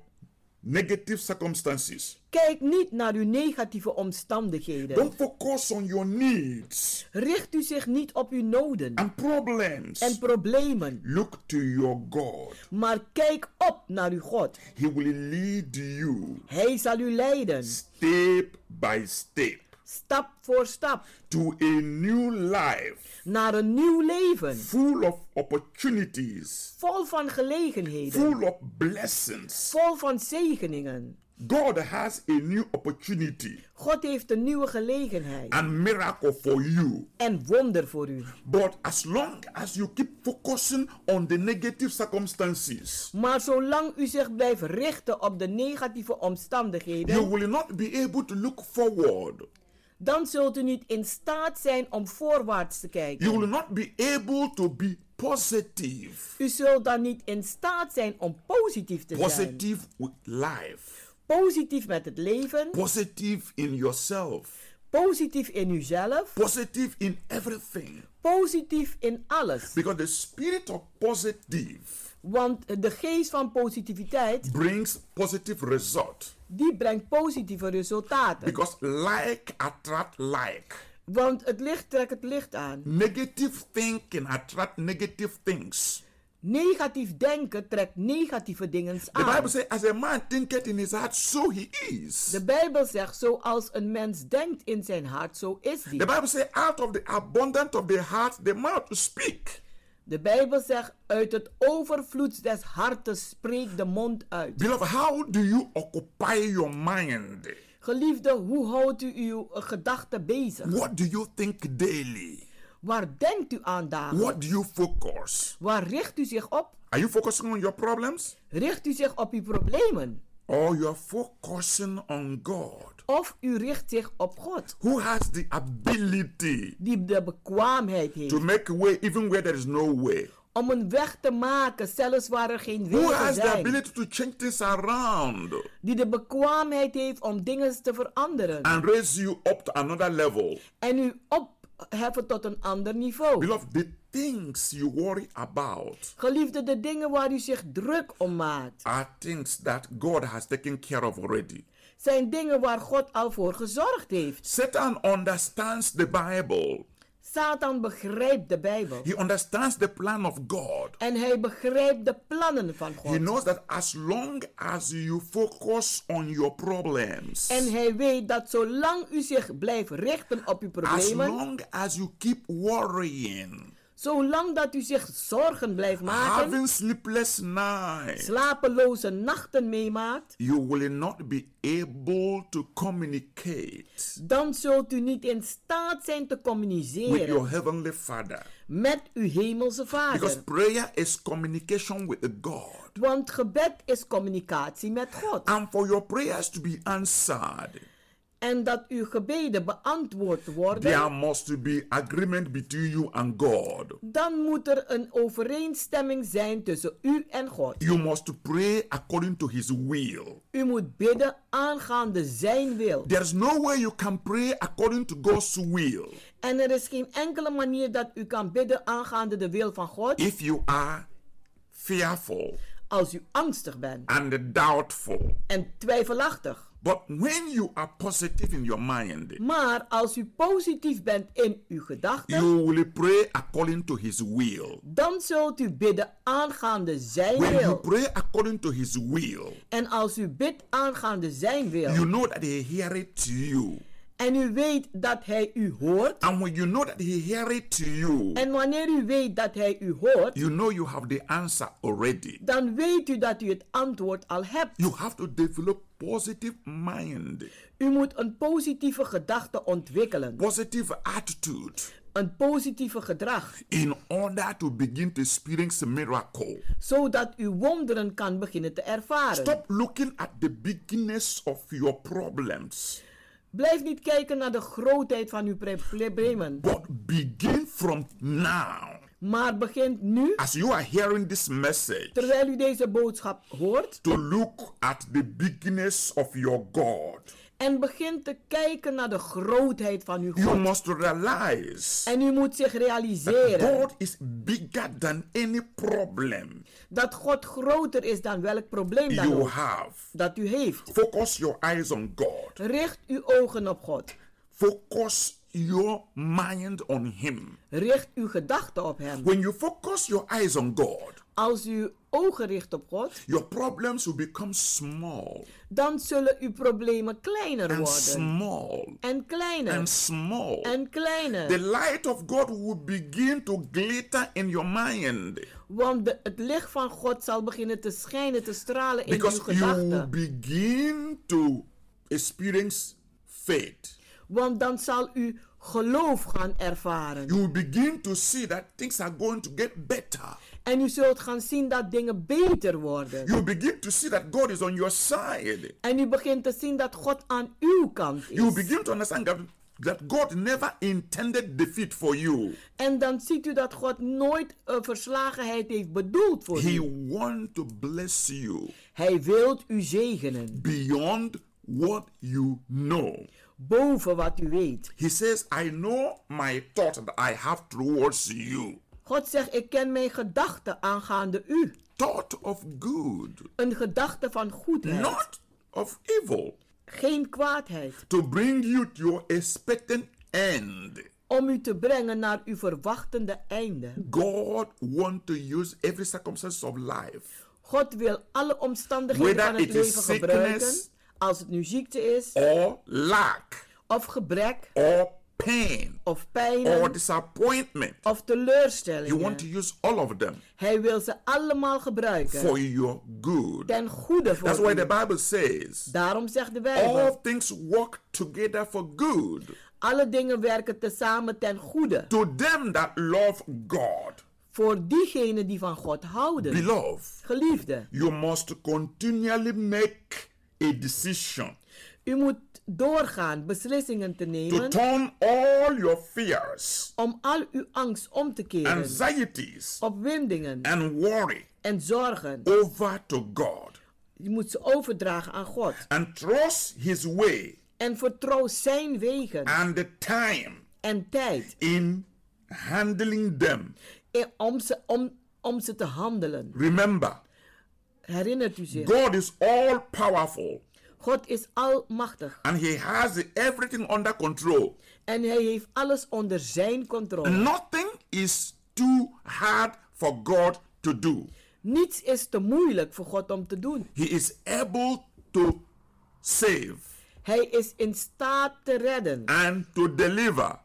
negative circumstances.
Kijk niet naar uw negatieve omstandigheden.
Don't focus on your needs
Richt u zich niet op uw noden
and problems.
en problemen,
Look to your God.
maar kijk op naar uw God.
He will lead you
Hij zal u leiden,
step by step
stap voor stap.
To a new life.
Naar een nieuw leven.
Full of opportunities.
Vol van gelegenheden.
Full of blessings.
Vol van zegeningen.
God has a new opportunity.
God heeft een nieuwe gelegenheid.
And miracle for you.
En wonder voor u.
But as long as you keep focusing on the negative circumstances.
Maar zolang u zich blijft richten op de negatieve omstandigheden.
You will not be able to look forward.
Dan zult u niet in staat zijn om voorwaarts te kijken.
You will not be able to be positive.
U zult dan niet in staat zijn om positief te
positive
zijn.
Positive with life.
Positief met het leven.
Positief in yourself.
Positief in uzelf.
Positief in everything.
Positief in alles.
Because the spirit of positive.
Want de geest van positiviteit.
Brings positive result.
Die brengt positieve resultaten.
Because like attract like.
Want het licht trekt het licht aan.
Negative thinking attract negative things.
Negatief denken trekt negatieve dingen aan.
The Bible says, as a man thinketh in his heart, so he is.
De Bijbel zegt, zoals een mens denkt in zijn hart, zo is hij.
The Bible says, out of the abundance of the heart, the mouth speak.
De Bijbel zegt, uit het overvloed des hartes spreekt de mond uit.
Beloved, how do you occupy your mind?
Geliefde, hoe houdt u uw gedachten bezig?
What do you think daily?
Waar denkt u aan dagelijks?
What do you focus?
Waar richt u zich op?
Are you focusing on your problems?
Richt u zich op uw problemen?
Or you are focusing on God?
Of u richt zich op God?
Who has the ability?
Die de bekwaamheid heeft.
To make a way even where there is no way.
Om een weg te maken, zelfs waar er geen
Who
wegen
has
zijn.
the ability to change things around?
Die de bekwaamheid heeft om dingen te veranderen.
And raise you up to another level.
En u opheffen tot een ander niveau.
Beloved, the things you worry about
Geliefde, de dingen waar u zich druk om maakt,
are things that God has taken care of already.
zijn dingen waar God al voor gezorgd heeft.
Satan understands the Bible.
Satan begrijpt de Bijbel.
He understands the plan of God.
En hij begrijpt de plannen van God.
He knows that as long as you focus on your problems,
En hij weet dat zolang u zich blijft richten op uw
as
problemen,
long as you keep worrying,
zolang dat u zich zorgen blijft maken,
having sleepless nights,
slapeloze nachten meemaakt,
you will not be able to communicate
dan zult u niet in staat zijn te
with your
communiceren
heavenly Father.
met uw hemelse
Because
Vader.
prayer is communication with God.
Want gebed is communicatie met God.
And for your prayers to be answered,
En dat uw gebeden beantwoord
there
worden,
must be agreement between you and God.
dan moet er een overeenstemming zijn tussen u en God.
You must pray according to His will.
U moet bidden aangaande zijn wil.
There's no way you can pray according to God's will
En er is geen enkele manier dat u kan bidden aangaande de wil van God
if you are fearful
als u angstig bent
and doubtful.
en twijfelachtig.
But when you are positive in your mind,
Maar als u positief bent in uw gedachten,
you will pray according to His will.
dan zult u bidden aangaande zijn
When you
wil.
pray according to His will,
En als u bidt aangaande zijn wil,
you know that He hear it to you.
en u weet dat hij u hoort,
And when you know that He hear it to you,
en wanneer u weet dat hij u hoort,
you know you have the answer already.
dan weet u dat u het antwoord al hebt.
You have to develop positive mind,
U moet een positieve gedachte ontwikkelen,
positive attitude
een positieve gedrag,
in order to begin to experience miracle.
zodat u wonderen kan beginnen te ervaren.
Stop looking at the bigness of your problems,
Blijf niet kijken naar de grootheid van uw pre- problemen,
but begin from now.
maar begint nu,
As you are hearing this message,
terwijl u deze boodschap hoort,
to look at the bigness of your God.
en begint te kijken naar de grootheid van uw
You
God.
must realize
En u moet zich
that
realiseren
God is bigger than any problem
dat God groter is dan welk probleem dan
you
ook
have.
dat u heeft.
Focus your eyes on God.
Richt uw ogen op God.
Focus your mind on Him.
Richt uw gedachten op Hem.
When you focus your eyes on God,
Als u ogen richt op God,
your problems will become small
dan zullen uw problemen kleiner
and
worden.
small
en kleiner.
and small.
en kleiner.
The light of God will begin to glitter in your mind
Want de- het licht van God zal beginnen te schijnen, te stralen in
because
uw
you will
gedachten.
begin to experience faith.
Want dan zal u geloof gaan ervaren.
You will begin to see that things are going to get better.
En u zult gaan zien dat dingen beter worden.
You will begin to see that God is on your side.
En u begint te zien dat God aan uw kant
You will
is.
begin to understand that, that God never intended defeat for you.
En dan ziet u dat God nooit een verslagenheid heeft bedoeld voor
He
u.
wants to bless you
Hij wilt u zegenen.
beyond what you know.
Boven wat u weet.
He says, I know my thought that I have towards you.
God zegt, ik ken mijn gedachten aangaande u.
Thought of good,
Een gedachte van goedheid.
not of evil,
Geen kwaadheid.
to bring you to your expectant end.
Om u te brengen naar uw verwachtende einde.
God wants to use every circumstance of life
God wil alle omstandigheden
Whether
van het
it is
leven gebruiken.
sickness-
Als het nu ziekte is.
or lack
Of gebrek.
or pain
Of pijn.
or disappointment.
Of
You want to
teleurstellingen.
use all of them
Hij wil ze allemaal
for
gebruiken.
your good.
Ten goede
That's
voor
why
u.
the Bible says
Daarom zegt de
all
Bijbel.
things work together for good
Alle dingen werken tezamen ten goede.
to them that love God.
Voor diegenen die van God houden.
Beloved,
Geliefde,
you must continually make a decision
u moet doorgaan beslissingen te
to
nemen.
turn all your fears,
om al uw angst om te keren,
anxieties,
opwindingen
and worry
en zorgen.
over to God
Je moet ze overdragen aan God
and trust His way
en vertrouw zijn wegen
and the time
en tijd
in handling them.
in- om ze, om, om ze te handelen.
Remember,
Herinnert u zich,
God is all powerful
God is almachtig
and He has everything under control.
en hij heeft alles onder zijn controle.
Nothing is too hard for God to do.
Niets is te moeilijk voor God om te doen.
He is able to save
Hij is in staat te redden
and to deliver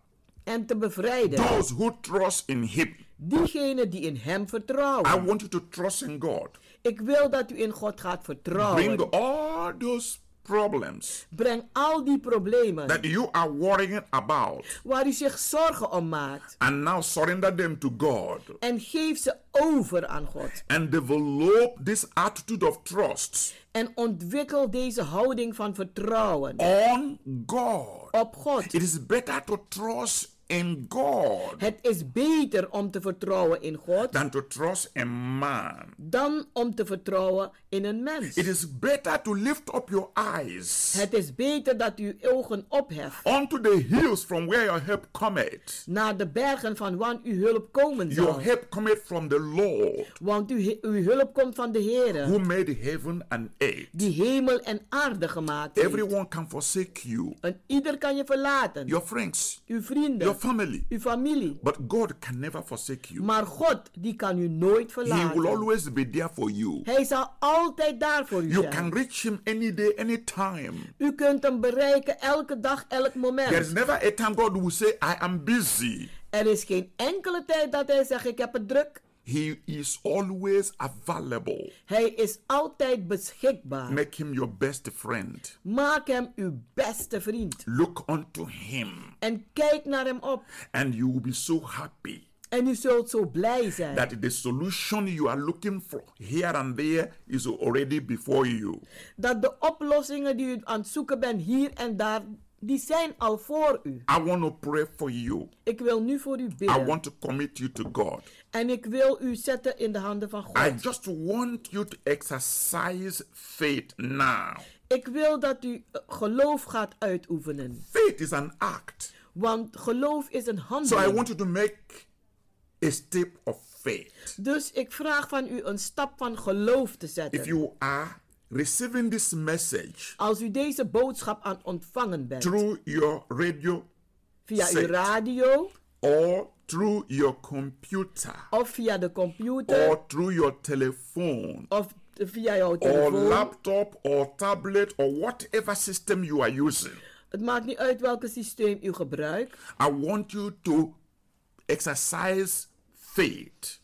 en te bevrijden.
those who trust in Him.
Diegenen die in hem
I
vertrouwen.
want you to trust in God.
Ik wil dat u in God gaat
Bring
vertrouwen.
all those problems
Breng al die problemen
that you are worrying about
waar u zich zorgen om maakt
and now surrender them to God
en geef ze over aan God.
and develop this attitude of trust
En ontwikkel deze houding van vertrouwen
on God.
op God.
It is better to trust in God
Het is beter om te vertrouwen in God
than to trust in man.
dan om te vertrouwen in een mens.
It is better to lift up your eyes
Het is beter dat u uw ogen opheft
unto the hills from where your help cometh.
naar de bergen van waar uw hulp komen
Your
zal.
help cometh from the Lord
Want uw, he- uw hulp komt van de Heer
who made heaven and earth.
die hemel en aarde gemaakt heeft.
Everyone can forsake you,
En ieder kan je verlaten.
your friends,
Uw
your
vrienden,
family,
uw familie.
but God can never forsake you.
Maar God, die kan u nooit
He will
verlaten.
always be there for you.
Hij zal altijd daar voor u
You can
zijn.
reach Him any day, any time.
U kunt hem bereiken elke dag, elk
There is
moment.
never a time God will say, I am busy.
Er is geen enkele tijd dat hij zegt, ik heb het druk.
He is always available.
Hij is altijd beschikbaar.
Make Him your best friend.
Maak hem uw beste vriend.
Look unto Him,
En kijk naar hem op.
and you will be so happy
En u zult zo blij zijn.
that the solution you are looking for here and there is already before you.
Dat de oplossingen die u aan het zoeken bent hier en daar, die zijn al voor u.
I want to pray for you.
Ik wil nu voor u
I
bidden.
want to commit you to God.
En ik wil u zetten in de handen van
I
God.
just want you to exercise faith now.
Ik wil dat u eh, geloof gaat uitoefenen.
Faith is an act.
Want geloof is een
So I
handeling.
want you to make a step of faith.
Dus ik vraag van u een stap van geloof te zetten.
If you are receiving this message
Als u deze boodschap aan ontvangen bent.
through your radio
via
set.
uw radio
or through your computer
of via de computer
or through your telephone
of via jouw
or
telefoon.
laptop or tablet or whatever system you are using.
Het maakt niet uit welk systeem u gebruikt.
I want you to exercise faith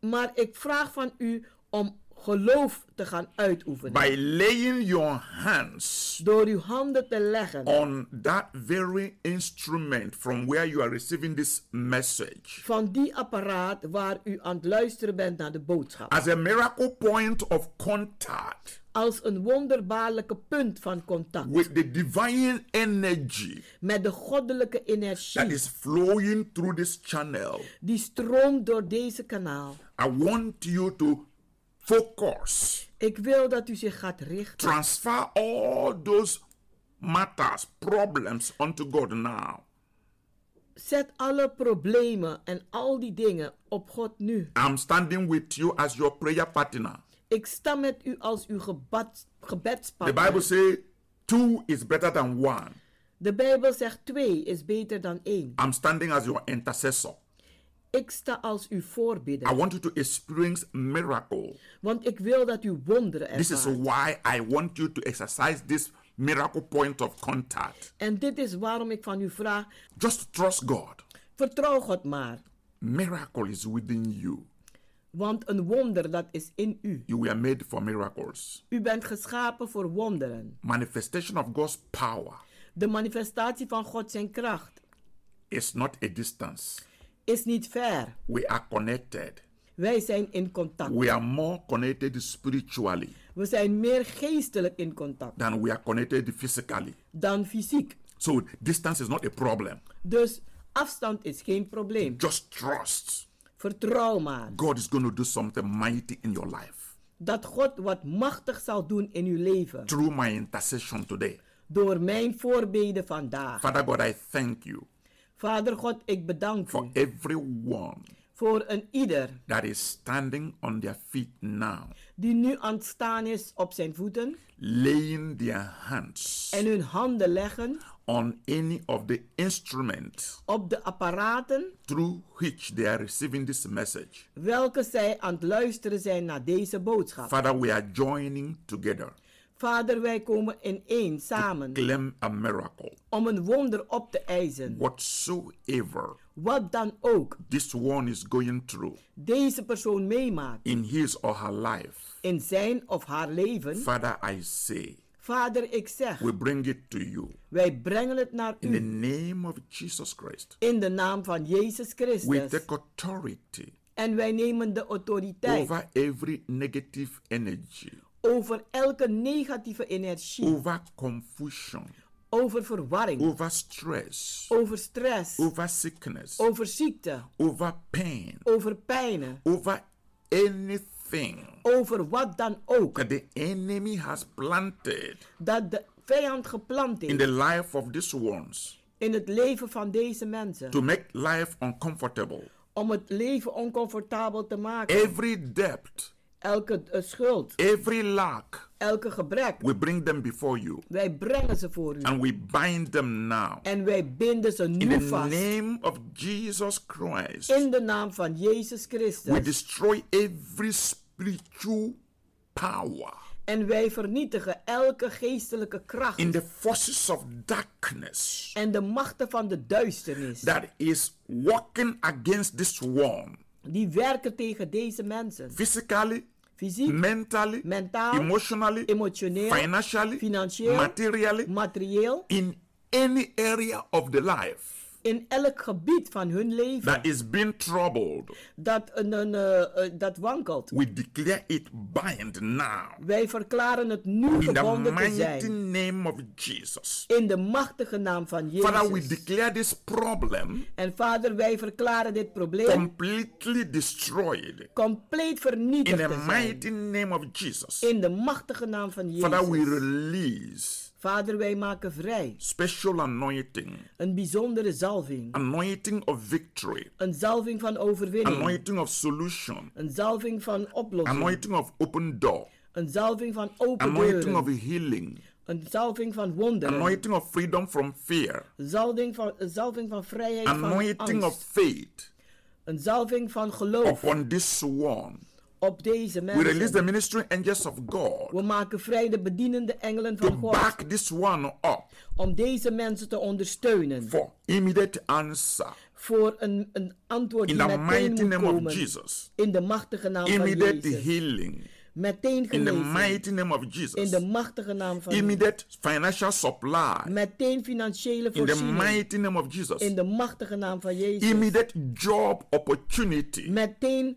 Maar ik vraag van u om geloof te gaan uitoefenen.
by laying your hands
Door uw handen te leggen
on that very instrument from where you are receiving this message
van die apparaat waar u aan het luisteren bent naar de boodschap.
as a miracle point of contact
Als een wonderbaarlijke punt van contact
with the divine energy
met de goddelijke
that
energie
is flowing through this channel.
die stroomt door deze kanaal.
I want you to focus,
Ik wil dat u zich gaat richten.
transfer all those matters, problems onto God now.
Zet alle problemen en al die dingen op God nu.
I'm standing with you as your prayer partner.
Ik sta met u als uw gebad,
The Bible
gebedspartner.
says two is better than one.
De Bijbel zegt twee is beter dan één.
I'm standing as your intercessor.
Ik sta als uw
I
voorbidder.
want you to experience miracle.
Want ik wil dat u wonderen
This is
ervaart.
why I want you to exercise this miracle point of contact.
En dit is waarom ik van u vraag,
Just trust God.
vertrouw God maar.
Miracle is within you.
Want een wonder, dat is in u.
You were made for miracles.
U bent geschapen voor wonderen.
Manifestation of God's power
De manifestatie van God zijn kracht
is not a distance.
is niet ver.
We are connected.
Wij zijn in contact.
We are more connected spiritually
We zijn meer geestelijk in contact
than we are connected physically.
dan fysiek.
So distance is not a problem.
Dus afstand is geen probleem.
Just trust.
Vertrouw maar
God is going to do something mighty in your life
dat God wat machtig zal doen in uw leven.
through my intercession today.
Door mijn voorbeden vandaag.
Father God, I thank you
Vader God, ik bedank
for
u
everyone
voor een ieder
that is standing on their feet now,
die nu aan het staan is op zijn voeten
laying their hands
en hun handen leggen
on any of the instruments
op de apparaten
through which they are receiving this message.
welke zij aan het luisteren zijn naar deze boodschap.
Father, we are joining together
Vader, wij komen in één
to
samen
claim a miracle.
om een wonder op te eisen.
Whatsoever
Wat dan ook
this one is going through
deze persoon meemaakt
in his or her life,
in zijn of haar leven.
Father, I say,
Vader, ik zeg,
we bring it to you
wij brengen het naar
in the
u
name of Jesus Christ.
in de naam van Jezus
We
Christus.
take authority
En wij nemen de autoriteit
over every negative energy,
over elke negatieve energie,
over confusion,
over verwarring,
over stress,
over stress,
over sickness,
over ziekte,
over pain,
over pijnen,
over anything
over wat dan ook
that the enemy has planted
dat de vijand geplant
in the
is
life of these ones
in het leven van deze mensen.
to make life uncomfortable.
Om het leven oncomfortabel te maken.
Every debt,
Elke eh, schuld,
every lack,
elke gebrek,
we bring them before you
wij brengen ze voor u.
and we bind them now.
En wij binden ze
In the
nu vast.
name of Jesus Christ,
In de naam van Jezus
we
Christus.
destroy every spiritual power
En wij vernietigen elke geestelijke kracht.
in the forces of darkness
en de machten van de duisternis.
that is working against this one
die werken tegen deze mensen.
physically,
Fysiek,
mentally,
Mentaal,
emotionally,
emotioneel,
financially,
financieel,
materially,
materieel,
in any area of the life
in elk gebied van hun leven
that is being troubled.
dat, een, een, eh, eh, dat wankelt.
We declare it bind now.
Wij verklaren het nu
In the
gebonden te
mighty
zijn.
name of Jesus.
In de machtige naam van
Father, we
Jezus.
declare this problem
En vader, wij verklaren dit probleem
completely destroyed.
compleet
In
vernietigd
the
te zijn.
mighty name of Jesus.
In de machtige naam van
Father, we
Jezus.
release
Vader, wij maken vrij.
special anointing,
Een bijzondere zalving.
anointing of victory,
Een zalving van overwinning.
anointing of solution,
Een zalving van oplossing.
anointing of open door,
Een zalving van open
anointing of
deuren.
healing,
Een zalving van wonderen.
anointing of freedom from fear,
Zalving van, een zalving van vrijheid van
anointing of
angst.
faith,
Een zalving van geloof.
upon this swan.
Op deze
We release the
mensen.
ministering angels of God
We maken vrij de bedienende engelen
to
van God.
back this one up
Om deze mensen te ondersteunen.
for immediate answer
Voor een, een antwoord
in
die
the
meteen
mighty
moet
name of
komen.
Jesus.
In de machtige naam van
Immediate
Jezus.
healing
Meteen
in the
genezen.
mighty name of
In
Jesus.
de machtige naam van Jezus.
Immediate financial supply
Meteen financiële
in the
voorziening.
mighty name of Jesus.
In de machtige naam van Jezus.
Immediate job opportunity
Meteen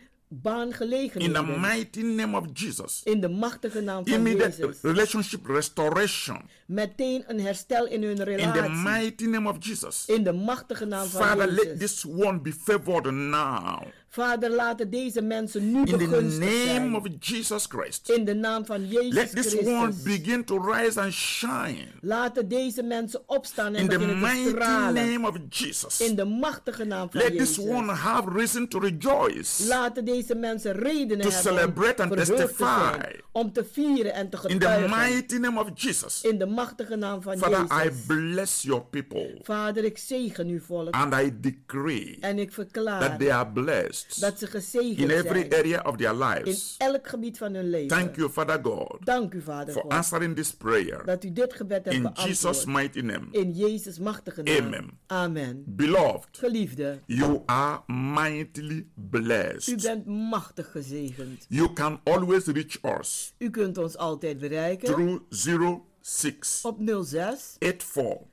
in the
baangelegenheden.
mighty name of Jesus.
In de machtige naam van
Immediate
Jezus.
relationship restoration
Meteen een herstel in hun
in the
relatie.
mighty name of Jesus.
In de machtige naam van
Father, let
Jezus.
this one be favored now.
Vader, laten deze mensen nu
In the
begunstigd
name
zijn.
of Jesus Christ,
In de naam van Jezus
let this one
Christus.
begin to rise and shine.
Laten deze mensen opstaan en
In the
beginnen te
mighty
stralen.
name of Jesus,
In de machtige naam van
let this one
Jezus.
have reason to rejoice.
Laten deze mensen redenen
To
hebben om
celebrate and
verheugd te
testify.
zijn. Om te vieren en te
In the
getuigen.
mighty name of Jesus,
In de machtige naam van
Father, I
Jezus.
bless your people
Vader, ik zegen uw volk.
and I decree
En ik
that they
verklaar
are blessed
dat ze
in
gezegend
every
zijn.
area of their
In
lives.
elk gebied van hun leven.
Thank you, Father God,
Dank u, Vader
for
God.
answering this prayer
Dat u dit gebed hebt
in Jesus'
beantwoord.
mighty name.
In Jezus' machtige naam.
Amen.
Amen.
Beloved,
Geliefde,
You are mightily
u
blessed.
bent machtig gezegend.
You can always reach us
U kunt ons altijd bereiken
through 06
op 06
84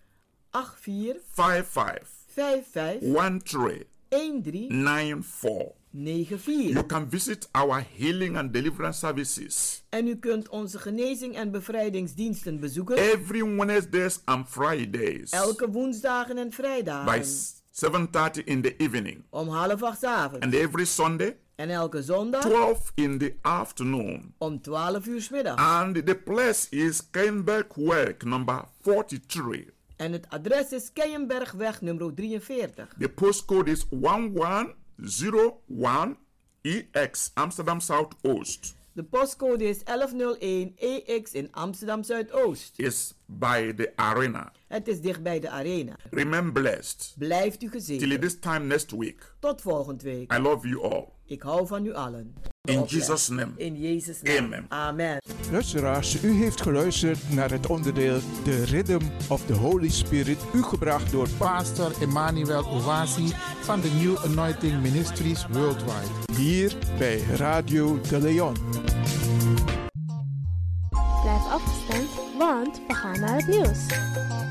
84
55
55 13
94. You
94.
can visit our healing and deliverance services
En u kunt onze genezing en bevrijdingsdiensten bezoeken
every Wednesdays and Fridays
elke woensdagen en
by
vrijdagen
7:30 in the evening
om half acht 's avonds
and every Sunday
en elke zondag
12 in the afternoon.
om 12 uur 's middag.
And the place is Kenberg Work number 43.
En het adres is Keienbergweg nummer 43.
The postcode is 1101 EX, E Amsterdam Southoost.
De postcode is 1101 EX E in Amsterdam Zuidoost.
Is by the arena.
Het is dichtbij de arena.
Remain blessed.
Blijft u
Till
gezegend.
this time next week,
Tot volgende week.
I love you all.
Ik hou van u allen.
In Jesus' name.
In Jezus' naam.
Amen.
Amen.
Luisteraars, u heeft geluisterd naar het onderdeel The Rhythm of the Holy Spirit, u gebracht door
Pastor Emmanuel Owasi van de New Anointing Ministries Worldwide.
hier bij Radio De Leon.
Blijf afgestemd, want we gaan naar het nieuws.